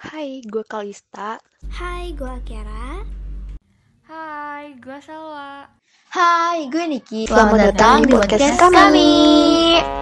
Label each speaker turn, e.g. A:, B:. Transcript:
A: Hai, gue Kalista.
B: Hai, gue Akira.
C: Hai, gue Salwa.
D: Hai, gue Niki.
E: Selamat, Selamat datang, datang di podcast, podcast kami. kami.